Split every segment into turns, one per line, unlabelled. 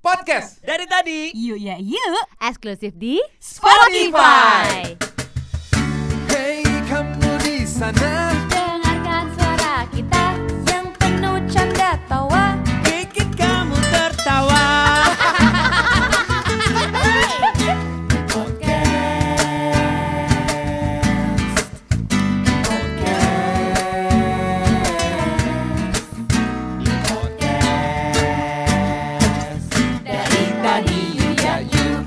podcast
Dari tadi
Yuk ya yuk
Eksklusif di
Spotify.
Hey kamu di sana
Dengarkan suara kita yang penuh canda tawa.
bikin kamu tertawa.
Dari tadi yuk ya yuk.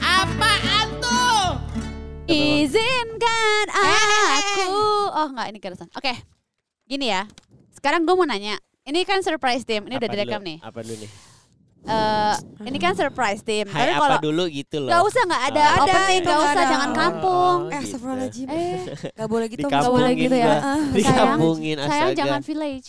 Apaan tuh?
Izinkan
Aku.
Eh.
Oh nggak ini keresan. Oke. Gini ya. Sekarang gue mau nanya. Ini kan surprise team. Ini udah direkam nih.
Apa dulu nih?
Eh, ini kan surprise team. Tapi
Hai apa
kalau
dulu gitu loh.
nggak usah nggak ada
Oh,
opening,
itu
nggak
nggak
usah
ada.
jangan kampung.
Oh,
Eh
gitu.
astagfirullahaladzim
Eh,
Gak boleh gitu
Dikampungin
boleh gitu ya.
gua.
Ah,
Dikampungin
sayang
astaga.
jangan village.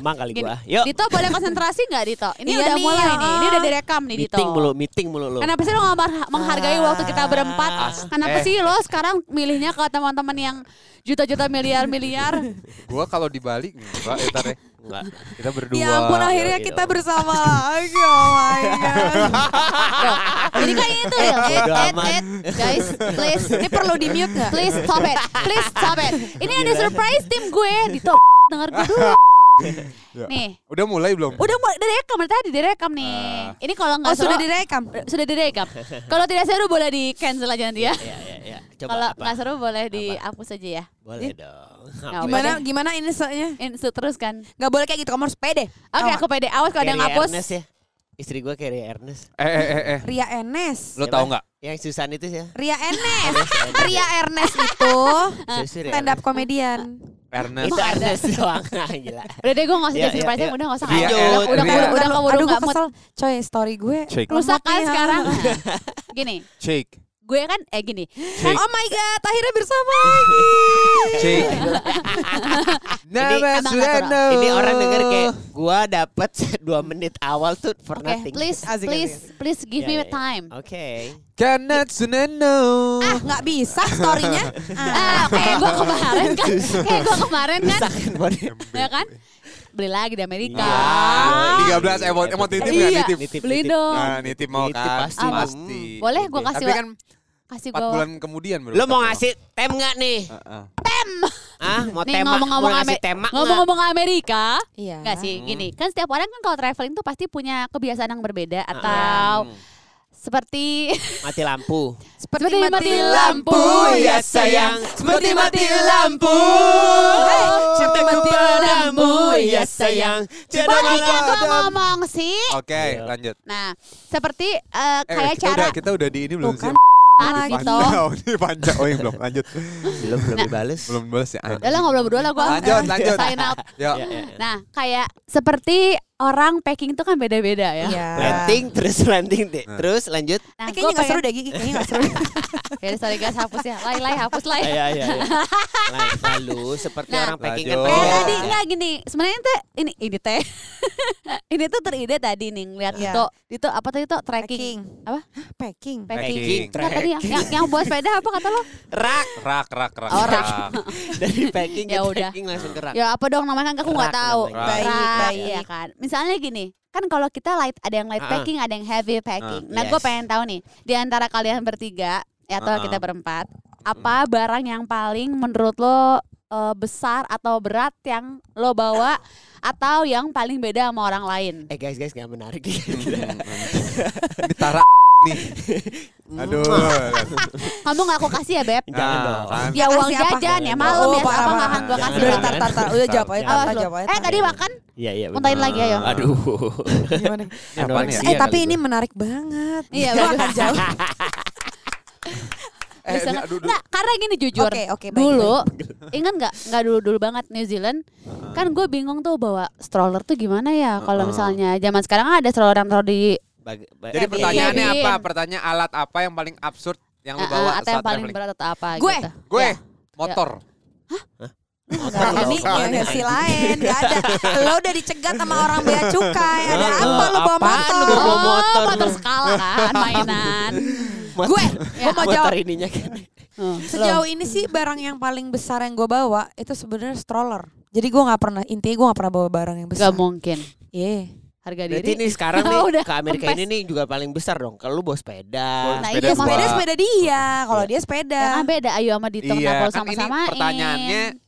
Emang kali
Gini,
gua. Yuk.
Dito boleh konsentrasi nggak Dito? Ini
Iya
udah
nih,
mulai
ah.
nih. Ini udah direkam nih Dito.
Meeting mulu, meeting mulu lo.
Kenapa sih lo nggak mar- menghargai waktu kita berempat?
As-
Kenapa
eh.
sih lo sekarang milihnya ke teman-teman yang juta-juta miliar-miliar?
Gua kalau di Bali enggak ya, ntar ya.
Enggak.
Kita berdua
Ya ampun akhirnya
Yuk,
kita
yuk.
bersama lagi Oh my god
Jadi kayak itu ya.
Bodo
Eh, eh,
amat.
eh, Guys, please.
Ini perlu di mute gak?
Please stop it. Please stop it. Ini ada surprise tim gue. Dito denger gue dulu. Nih,
Ya. Udah mulai belum?
udah mulai direkam dari tadi direkam nih. Ini kalau nggak
Oh sudah
seru-
direkam
sudah direkam. Kalau tidak seru boleh di cancel aja nanti ya.
Ya, ya, ya. Coba
Kalau
apa?
nggak seru boleh dihapus aja ya.
Boleh dong.
apa
Gimana
deh.
gimana ini soalnya?
Ini terus kan.
Gak boleh kayak gitu kamu harus pede
Oke,
Tau
aku pede. Awas kalau ada yang
Carrie
hapus.
Ernest ya. Istri gua Carrie Ernest.
Eh eh eh eh.
gak? Ria Enes
Lo tau nggak?
Yang Susan itu ya.
Ria
Ah,
Enes
Ernest.
Ria Ernest itu
Susu Ria
stand up komedian
Ernest.
Itu Ernest doang. Ah, Gila.
Udah deh gue gak usah jadi
Iya, iya,
surprise
iya.
udah gak usah
Iya,
Udah,
iya,
udah, udah,
iya.
udah, udah keburu
Aduh
gak
gue
mood
kesel Coy story gue
Cek.
Rusak kan
nih,
sekarang
ah.
Gini
Shake.
Gue kan eh gini
Shake.
Oh my god akhirnya bersama lagi
Shake. Nama
Abang
sudah
natural.
know.
Ini orang denger kayak gua dapat 2 menit awal tuh for
Oke
nothing.
please
Asik,
please please give
Ya,
me
ya, ya.
time Kan?
Oke.
Karena sudah know.
Ah gak bisa storynya ah.
Ah, kayak gue kemarin kan Kayak gue kemarin kan
Rusakin body.
Ya kan Beli lagi di Amerika
Iya. 13 emot- emot nitip nggak?
Iya,
Nitip.
beli dong.
Nah, nitip mau
Nitip
kan?
pasti.
Apa? Boleh gua kasih
Tapi
wa-
kan
Kasih
4
gue
bulan kemudian baru
Lo mau
ketemu.
ngasih tem nggak nih?
Heeh.
Ah, mau
Nih
tema,
ngomong-ngomong
mau ngasih
Amer-
tema nggak?
ngomong-ngomong Amerika
Iya
Gak sih gini Kan setiap orang kan kalau traveling tuh pasti punya kebiasaan yang berbeda Atau seperti
Mati lampu.
Seperti,
Seperti mati
mati, lampu,
lampu, iya,
ya sayang Seperti mati lampu Hey,
Cintaku
mati
padamu
iya,
ya sayang.
Kok
Cinta
iya gue ngomong sih
Oke,
Iya.
lanjut.
Nah seperti eh,
Eh,
kayak
kita
cara
udah kita udah di ini belum
Tuh
sih?
kan,
Ah,
lagi.
gitu.
Panjang, ini panjang. Oh, yang belum lanjut.
Belum belum
Nah.
dibales.
Belum balas ya.
Udah lah ngobrol berdua lah gue.
Lanjut, lanjut.
Sign out.
Ya.
Ya, ya, ya.
Nah kayak seperti orang packing itu kan beda-beda ya.
Iya
Landing terus landing deh. Terus lanjut.
Nah,
Eh,
gue
Kayaknya gak seru
pengen,
deh Gigi Kayaknya gak seru
ya sorry guys hapus ya. Lai lai hapus lai.
Ayo ayo ayo. Lan- iya, Nah, Lalu seperti
Nah.
orang packing kan
Lanjut.
Kayak
Oh.
tadi enggak gini, sebenarnya teh ini ini teh. ini tuh teride tadi nih ngeliat
Iya.
itu itu apa tadi itu tracking.
Packing
Apa?
Packing
Packing.
Packing.
Enggak, tadi yang, yang, yang buat sepeda apa kata lo?
Rak
Rak, rak, rak.
Oh, rak.
dari packing ke
Ya udah.
packing langsung gerak.
Ya apa dong namanya kan aku nggak
Rak
tahu.
namanya.
Rak.
Rak,
Baik,
iya
baik.
kan. Misalnya gini, kan kalau kita light ada yang light
Ah.
packing, ada yang heavy packing.
Ah,
nah, gue
yes.
pengen tahu nih, di antara kalian bertiga ya, atau
Ah, ah.
kita berempat, apa barang yang paling menurut lo eh, besar atau berat yang lo bawa atau yang paling beda sama orang lain?
Eh guys guys nggak menarik.
Ini Tara nih. Aduh.
Kamu nggak aku kasih ya, Beb?
Jangan
Nah,
dong.
kan.
Ya uang
Kasih apa?
jajan ya malam
Oh,
ya,
parah,
apa nggak
parah.
akan gue kasih?
Jangan,
Udah
Bang?
tar tar tar Udah jawab aja
Awas
tar
lo.
jawab aja
Eh tadi makan
Iya iya.
Muntahin
benar.
lagi, ayo.
Aduh.
Gimana?
Apaan ya?
Anoreksia
Eh tapi
kali
ini
gua.
menarik banget
Iya,
Gua
bagus.
akan jawab
Eh,
Bisa
ini,
nggak?
aduh, aduh.
Nggak, karena gini jujur.
Oke, oke, baik,
Dulu, ingat nggak? Nggak dulu dulu banget New Zealand. Kan gue bingung tuh bawa stroller tuh gimana ya? Kalau misalnya zaman sekarang kan ada stroller yang taruh di
Bag- ba-
Jadi
Jadi-
pertanyaannya
jadi-
apa? Pertanyaan alat apa yang paling absurd yang lu
eh,
bawa
atau yang
saat
paling
traveling?
berat atau apa?
Gue.
gitu.
Gue
Ya.
motor.
motor
Nah,
dong.
ini versi lain, gak ada. Lo udah dicegat sama orang bea cukai. Ada
Eh,
apa lo bawa
apaan lu
motor?
bawa
Oh,
motor
motor
lu.
skala kan mainan.
Motor-
Gue,
Ya,
gue mau
motor
jawab.
ininya kan.
Hmm.
Sejauh ini sih barang yang paling besar yang gue bawa itu sebenarnya stroller. Jadi gue nggak pernah intinya gue nggak pernah bawa barang yang besar.
Gak mungkin.
Iya.
Harga diri.
Berarti ini sekarang nih
Udah,
ke Amerika
kempes.
ini nih juga paling besar dong. Kalau lu bawa sepeda,
Sepeda
Nah,
gua.
iya,
Sepeda
makanya
sepeda dia, kalau
Iya.
dia sepeda.
Karena Ya, beda Ayu sama Dito
Iya, kan
kenapa
ini
sama-samain.
pertanyaannya
Iya.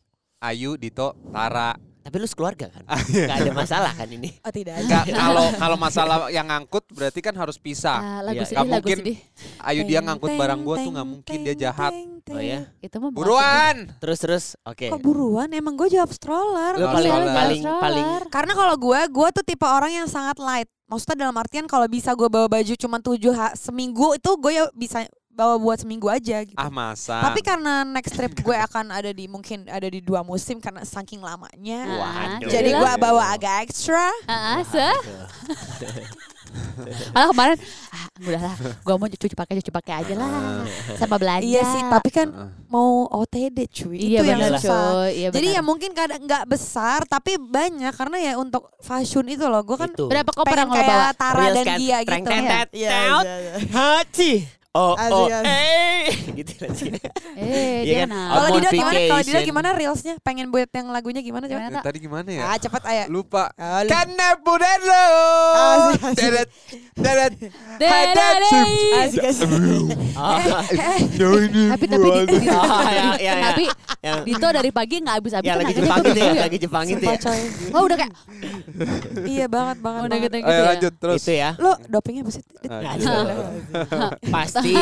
Ayu, Dito, Tara.
tapi lu sekeluarga kan? Gak ada masalah kan ini.
Oh tidak.
Nggak, kalau kalau masalah yang ngangkut berarti kan harus pisah.
Ah, lagu
Iya,
sedih,
nggak
lagu
mungkin.
sedih.
Ayu dia
Teng,
ngangkut
teng,
barang gua tuh
teng,
nggak mungkin
teng,
dia jahat.
teng, teng.
Oh ya,
Itu mah bukan
Buruan.
terus terus. Oke.
Kok buruan? Emang gue jawab stroller.
Lu
Iya,
paling
lu
jual
paling
stroller.
paling
Karena kalau gue, gue tuh tipe orang yang sangat light. Maksudnya dalam artian kalau bisa gue bawa baju cuma tujuh ha- seminggu itu gue ya bisa bawa buat seminggu aja gitu.
Ah masa.
Tapi karena next trip gue akan ada di mungkin ada di dua musim karena saking lamanya.
Waduh.
Jadi
gila.
gue bawa agak ekstra.
Ah, se. Alah kemarin, ah, udahlah, gua mau cuci pakai cuci pakai aja
Ah.
lah, sama belanja.
Iya sih, tapi kan
Heeh.
mau OTD cuy.
iya
itu yang
benar
susah.
cuy. Iya,
Jadi ya
benar.
mungkin kadang nggak besar tapi banyak karena ya untuk fashion itu loh gue kan
itu.
berapa koper yang lo
pengen
bawa?
kayak Tara
Reels
dan
kan?
Gia
Treng
gitu.
tetet,
Iya,
teot.
iya, iya.
Haji. Oh, oh,
Azian.
eh, gitu lagi.
Eh,
Iya
dia
kan?
kenal.
Kalau
Hormon
Dida gimana? Kalau Dida
vacation.
gimana reelsnya? Pengen buat yang lagunya gimana coba?
Eh, Tadi gimana ya?
Ah cepet ayah.
Lupa.
Ah, lu-
Karena budak lo. Deret, deret. Ada
gitu
Dadadai.
ya? Oh,
Jauh ini.
Tapi tapi eh, Dito, Dito.
Oh, ya, ya, ya.
tapi
yang,
Dito dari pagi nggak habis-habis
yang lagi
tenaganya
Jepang
tuh
itu ya,
dulu
lagi Jepang itu
Sumpah,
ya.
coy.
Wah Oh, udah kayak
Iya banget banget.
udah
banget.
gitu gitu
Ayo
ya.
lanjut terus.
Itu ya.
Lo dopingnya apa sih?
Ah,
Aduh. Pasti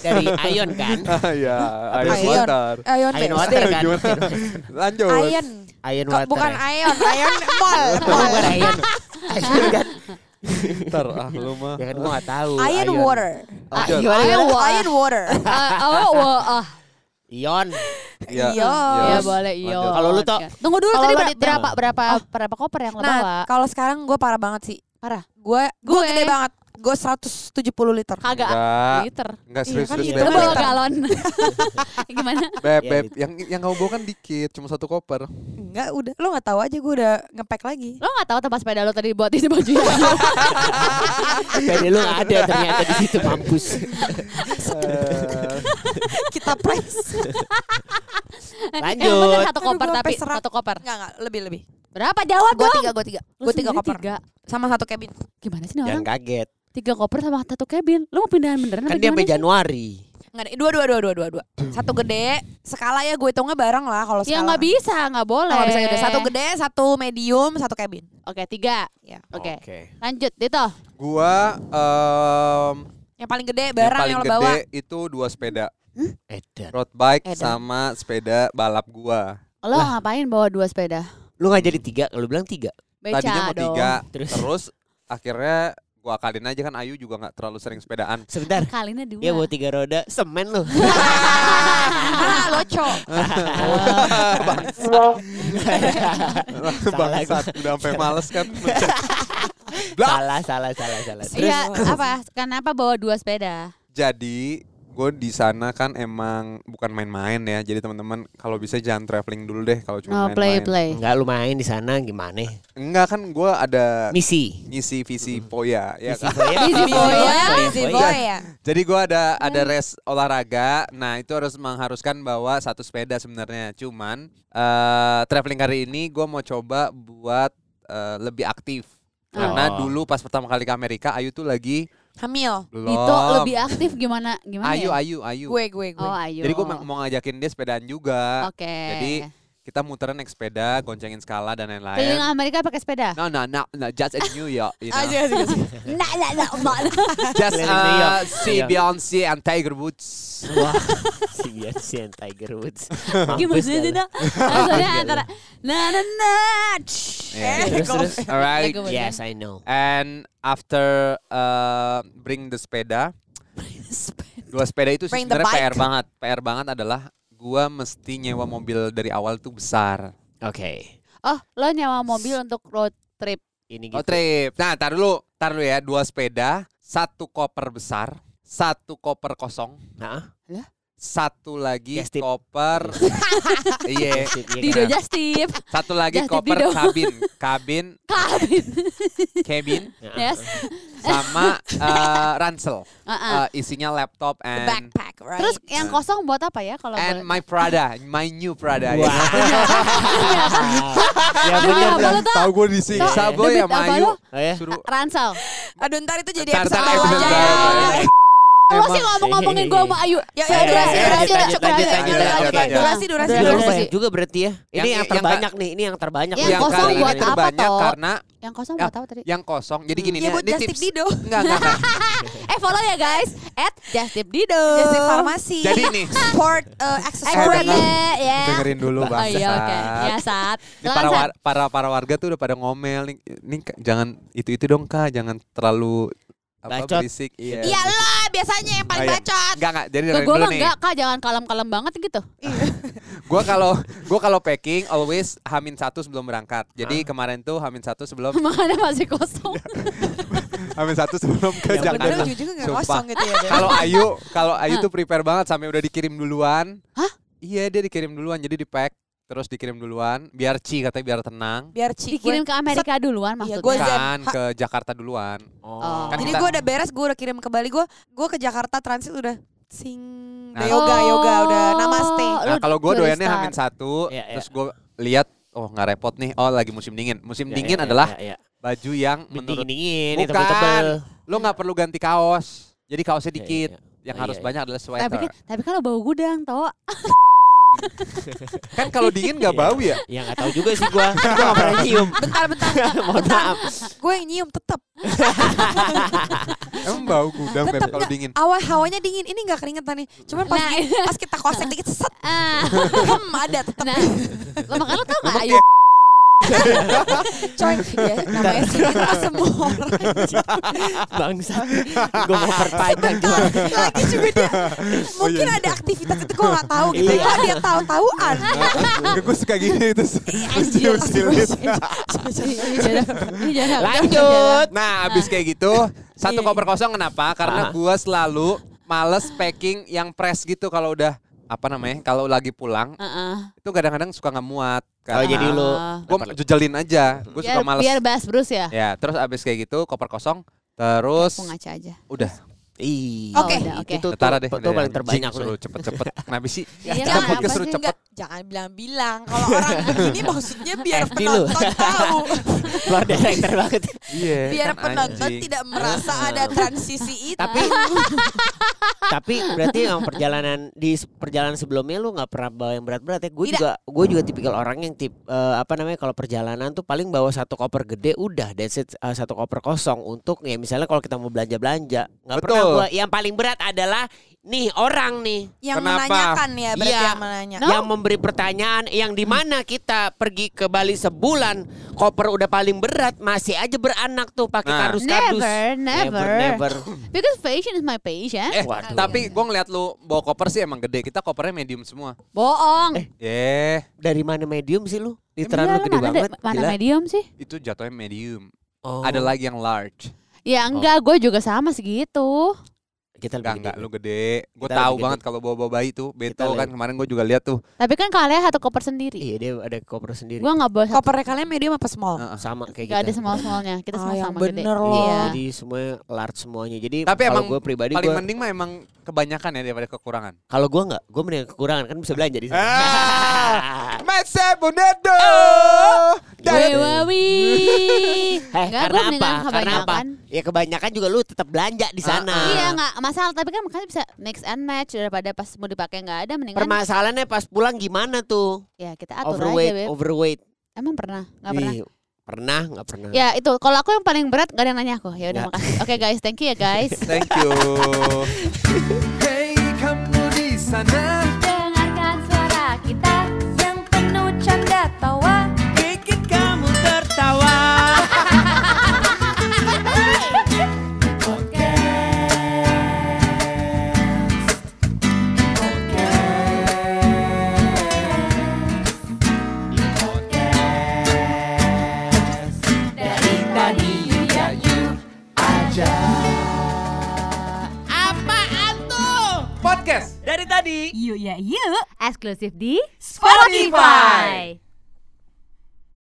dari Ion kan?
Iya, ayo
Ayon.
water.
Ayon.
Ion
Bes.
Water kan?
Gimana? Lanjut.
Ayon.
Ion
Kok
Water.
bukan
ya.
Ayon, Ayon mall.
Oh, bukan Ion. Ion kan?
Ntar ah lu mah.
Ya kan gua gak tahu.
Ayon water.
Oh,
Ion.
gimana,
Ion.
gimana?
Wah.
Ayon water.
Ah, oh, wah, ah.
Ion.
Iya.
Iya.
Ya
Yes.
boleh iyo.
Lanjut.
Kalau lu, Tok.
tunggu dulu
Kalau
tadi
lu,
ber-
Dito.
berapa berapa berapa koper yang lo bawa?
Nah, kalau sekarang gue parah banget sih.
Parah.
Gue gue
Gue.
gede banget. Gue 170 liter.
Kagak
Enggak.
liter.
Enggak
Iya,
serius
kan
serius
gitu.
Lo
beb.
Berapa
bawa
liter?
galon. Gimana?
Beb,
Iya,
beb.
gitu.
Yang yang kamu bawa kan dikit, cuma satu koper.
Enggak, udah. Lo nggak tahu aja gue udah ngepack lagi.
Lo nggak tahu tempat sepeda lo tadi buat ya? ini bajunya?
Jadi lu gak ada ternyata di situ mampus.
Kita price.
Lanjut.
Yang bener satu
Aduh,
koper
gua
tapi
sampai serak.
satu koper.
Enggak, enggak. Lebih, lebih.
Berapa jawab
Gue
dong?
tiga, gue tiga.
Lo
Gue tiga
sendiri
koper.
tiga.
Sama satu cabin.
Gimana sih nih
Jangan
orang?
kaget.
Tiga koper sama satu cabin. Lo mau pindahan beneran
Kan
apa
dia
gimana?
sampai
sih?
Januari.
Enggak, dua, dua, dua, dua, dua, dua. Satu gede, skala ya gue hitungnya bareng lah kalau
Ya
skala.
nggak bisa, nggak
Oh,
boleh.
nggak bisa gede. Satu gede, satu medium, satu cabin.
Oke tiga.
Ya.
Oke. Lanjut Dito.
Gua em,
Yang paling gede
yang
barang
paling
yang, lo bawa.
gede itu dua sepeda,
Edan.
road bike
Edan.
sama sepeda balap gua.
Lo ngapain bawa dua sepeda?
Lu gak jadi tiga, lu bilang tiga.
Beca
Tadinya mau
dong.
tiga,
Terus?
terus akhirnya gua akalin aja kan Ayu juga nggak terlalu sering sepedaan.
Sebentar.
Kalinya dua.
Dia bawa tiga roda, semen lu.
Ah, loco.
Bangsat, udah sampai males kan. Blak.
salah, salah, salah, salah.
Iya apa? Kenapa bawa dua sepeda?
Jadi gue di sana kan emang bukan main-main ya. Jadi teman-teman kalau bisa jangan traveling dulu deh kalau cuma
No Oh, play
main-main.
play.
Enggak lu main di sana gimana?
Enggak kan gue ada
Misi.
misi visi poya ya
Misi
kan.
Boya.
Misi Boya.
Oh, iya, Si boy ya.
Jadi gue ada ada
Mm.
res olahraga. Nah itu harus mengharuskan bawa satu sepeda sebenarnya. Cuman eh traveling kali ini gue mau coba buat eh, lebih aktif. Karena
Oh.
dulu pas pertama kali ke Amerika Ayu tuh lagi
Hamil.
belum.
Dito lebih aktif gimana? Gimana?
Ayu
ya?
Ayu Ayu.
Gue, gue, gue.
Oh Ayu.
Jadi gue mau ngajakin dia sepedaan juga.
Oke.
Jadi kita muteran naik sepeda, goncengin skala dan
keliling
lain-lain.
Amerika pakai sepeda.
No, no, no, no, just in New York, you know.
Asik, asik, asik.
Nah, nah, nah, nah.
just
Keliling New York.
uh, see
Iya.
Beyonce and Tiger Woods.
Wah, si Beyonce and Tiger Woods.
Gimana
Mampus
sih
dah lu.
Dito? Soalnya antara nah nah nah. shh.
Eh,
Yeah.
Terus, terus.
Alright.
Tiger Woods.
Yes, I know.
And after uh, bring the sepeda, dua sepeda itu sih
Bring the
sebenarnya
bike.
PR banget. PR banget adalah gua mesti nyewa mobil dari awal tuh besar.
Oke.
Oh, lo nyewa mobil untuk road trip.
Ini gitu.
Oh trip. Nah, tar dulu, tar dulu ya. Dua sepeda, satu koper besar, satu koper kosong,
Nah,
satu lagi
Yes, tip.
koper iya
Dido just tip.
satu lagi
Just tip
koper
Dido.
kabin kabin
Kabin.
cabin
Nah, ah.
Iya,
Yes.
sama eh, ransel
Uh-uh.
Eh, isinya laptop and
backpack, right?
Terus yang kosong buat apa ya kalau
Nah. and
boleh?
my Prada my new Prada Iya.
Wah.
Iya.
ya Ah, bener
Apa
dong.
lo tau?
tahu gue disiksa
Tau,
boy
debit
sama
apa
Ayu
lo? Oh,
Oh ya.
Eh, suruh
Ransel.
Aduh ntar itu jadi
Ntar,
episode
ntar,
awal
episode
aja.
awal aja.
iya, Lo
Emang-
sih ngomong ngomongin gue sama Ayu.
Ya, ya,
Ayo,
durasi,
ayo, lanjut,
durasi, udah
lanjut,
cukup.
lanjut,
Udah,
lanjut,
udah,
lanjut,
udah,
lanjut.
Durasi, durasi,
Udah
Durasi.
durasi.
banyak juga berarti ya. Ini
Yang-
yang,
yang-
terbanyak nih, ini yang terbanyak.
Iya,
Yang
yang
nih.
ya, kosong
kali
buat
ini
apa
terbanyak
toh?
karena
Yang kosong
Ya.
buat apa tadi?
yang kosong jadi gini
Iya
nih
buat
ini
Justin
tips
Dido.
enggak enggak enggak.
Eh follow ya guys. At Justip Dido.
Justin Farmasi.
jadi nih
Sport uh, accessory.
Ekroge. Ya.
dengerin dulu bang
Oh iya oke. Ya saat.
Ini
Silakan,
para,
Sat.
war- para para warga tuh udah pada ngomel nih, nih Kak, jangan itu itu dong kak, jangan terlalu apa
Bacot.
berisik. Iya.
Iya lah, biasanya yang
Oh,
paling
iya.
bacot.
Enggak enggak, jadi
Ke
dengerin
gue
dulu
mah
nih.
enggak kak jangan kalem-kalem banget gitu.
Gua kalau gua kalau packing always hamin satu sebelum berangkat. Jadi kemarin tuh hamin satu sebelum
Makanya masih kosong.
Iya,
hamin satu sebelum ke
Yang
Padahal
Jakarta.
ujung-ujungnya nggak
Sumpah.
kosong gitu ya. Beb.
Kalau Ayu, kalau Ayu tuh prepare banget sampai udah dikirim duluan.
Hah?
Iya, dia dikirim duluan jadi di pack terus dikirim duluan biar Ci katanya biar tenang.
biar Ci
Dikirim
gue-
ke Amerika duluan
Iya,
maksudnya.
gua Zen.
Kan ke Jakarta duluan.
Oh.
Iya,
Kan
Jadi
kita-
gue udah beres, gue udah kirim ke Bali, gue gue ke Jakarta transit udah sing
Nah.
udah yoga yoga udah namaste.
Oh,
Nah,
lu
kalau gue
dari
doyannya
start.
hamin satu,
Iya, iya.
terus gue lihat oh nggak repot nih. Oh lagi musim dingin. Musim
Ya,
dingin
ya,
adalah
ya, ya.
baju yang
dingin
menurut
dingin,
Bukan.
tebel-tebel.
lo nggak perlu ganti kaos. Jadi kaosnya
Iya,
dikit.
iya, iya.
Yang
Oh,
harus
iya, iya.
banyak adalah
Tapi kan,
sweater.
tapi kan lo bau gudang toh.
Kan kalau dingin nggak
Iya.
bau ya.
Ya nggak tahu juga sih gua, kan gua nggak pernah nyium.
Bentar bentar,
Mohon maaf.
gue yang nyium tetap.
Emang bau gudang Beb,
Tetep
kalau
nggak-
dingin.
Awal hawanya dingin, ini nggak keringetan nih. Cuman pas,
Nah.
di- pas kita kosek dikit set,
Ah,
hem, ada tetap
nah, lo makanya lo tau gak Ayu?
coy. Ya, namanya stigma semua orang.
Bangsa. Gua mau perpanjang gua.
Bentar, lagi
Oh,
juga dia
iya,
mungkin ada aktivitas itu gue nggak tahu gitu.
Iya.
Kok dia tahu-tahuan?
gue suka gini terus.
Anjir. Ini jarang- ini jarang.
Lanjut.
Nah, abis kayak gitu, satu
Iya.
koper kosong kenapa? Karena
Ah.
gua selalu males packing yang press gitu kalau udah apa namanya? Kalau lagi pulang
Heeh.
itu kadang-kadang suka nggak muat.
Oh, jadi lu Iya,
gue jejelin aja. Gue suka
Biar,
males.
biar bahas Bruce ya.
Ya, terus abis kayak gitu koper kosong, terus
Aku ngaca aja.
udah
Ih.
Oke.
itu-
Oke.
Itu
ketara deh.
tuh- tuh paling
Jing,
terbanyak
suruh cepet-cepet. Kenapa sih?
Iya,
Kita
kenapa
podcast suruh
sih?
cepet.
Enggak, jangan bilang-bilang. Kalau orang begini maksudnya biar
FD Eh, lu.
penonton tahu.
Luar director banget.
Iya.
Biar
kan
penonton
anjing.
tidak merasa ada transisi itu.
Tapi tapi berarti yang perjalanan di se- perjalanan sebelumnya lu nggak pernah bawa yang berat-berat ya? Gue
Tidak.
juga gue juga tipikal orang yang tip eh, apa namanya kalau perjalanan tuh paling bawa satu koper gede udah dan satu koper kosong untuk ya misalnya kalau kita mau belanja belanja nggak pernah
Betul.
gue yang paling berat adalah nih orang nih
yang
Kenapa?
menanyakan ya, berarti
Iya.
yang menanya.
No.
yang memberi pertanyaan yang di mana kita pergi ke Bali sebulan koper udah paling berat masih aja beranak tuh pakai
Nah.
kardus-kardus
Never, never.
never, never.
Because fashion is my ya. passion.
Eh,
Waduh.
tapi gue ngeliat lu bawa koper sih emang gede. Kita kopernya medium semua.
Bohong.
Eh,
dari mana medium sih lu literan lu
Iya,
gede
mana,
banget
de- mana
gila.
medium sih?
itu jatuhnya medium.
Oh.
Ada lagi yang large.
Ya
Oh.
enggak, gue juga sama gitu. segitu.
kita
Enggak
lebih
enggak
gede.
lu gede. Gue
Kita
tahu
lebih
banget kalau bawa-bawa bayi tuh. Beto
lebih-
kan kemarin gue juga lihat tuh.
Tapi kan kalian satu koper sendiri.
Iya dia ada koper sendiri.
Gue nggak bawa satu.
Kopernya kalian medium apa small?
Heeh.
sama kayak
Gak ada
kita.
small-smallnya. Kita
Ah,
semua
yang
sama gede.
bener loh.
Iya.
Jadi semuanya large semuanya. Jadi
Tapi emang
kalau gue pribadi
Paling
gua-
mending mah emang kebanyakan ya daripada kekurangan.
kalau gue nggak, gue mending kekurangan kan bisa belanja di sana.
Ah, Masa
Eh,
Bonedo.
Wih, wah, wih.
Eh,
Enggak,
karena
gua
apa?
mendingan
Karena apa?
kebanyakan.
Ya kebanyakan juga lu tetap
Ah,
belanja di sana.
Iya nggak masalah tapi kan makanya bisa mix and match daripada pas mau dipakai nggak ada mendingan
Permasalahannya pas pulang gimana tuh?
ya kita kan? atur
overweight,
aja beb.
overweight.
Emang pernah? Nggak pernah.
Iya.
Ih, pernah nggak pernah?
Ya itu kalau aku yang paling berat gak ada yang nanya aku. Ya
Ya.
udah makasih. Oke guys, thank you ya guys.
Thank you. hey kamu di sana.
Dengarkan suara kita yang penuh canda tawa.
Bikin kamu tertawa.
Dari tadi ya
Podcast
Dari tadi
Yuk ya yuk, eksklusif di
Spotify.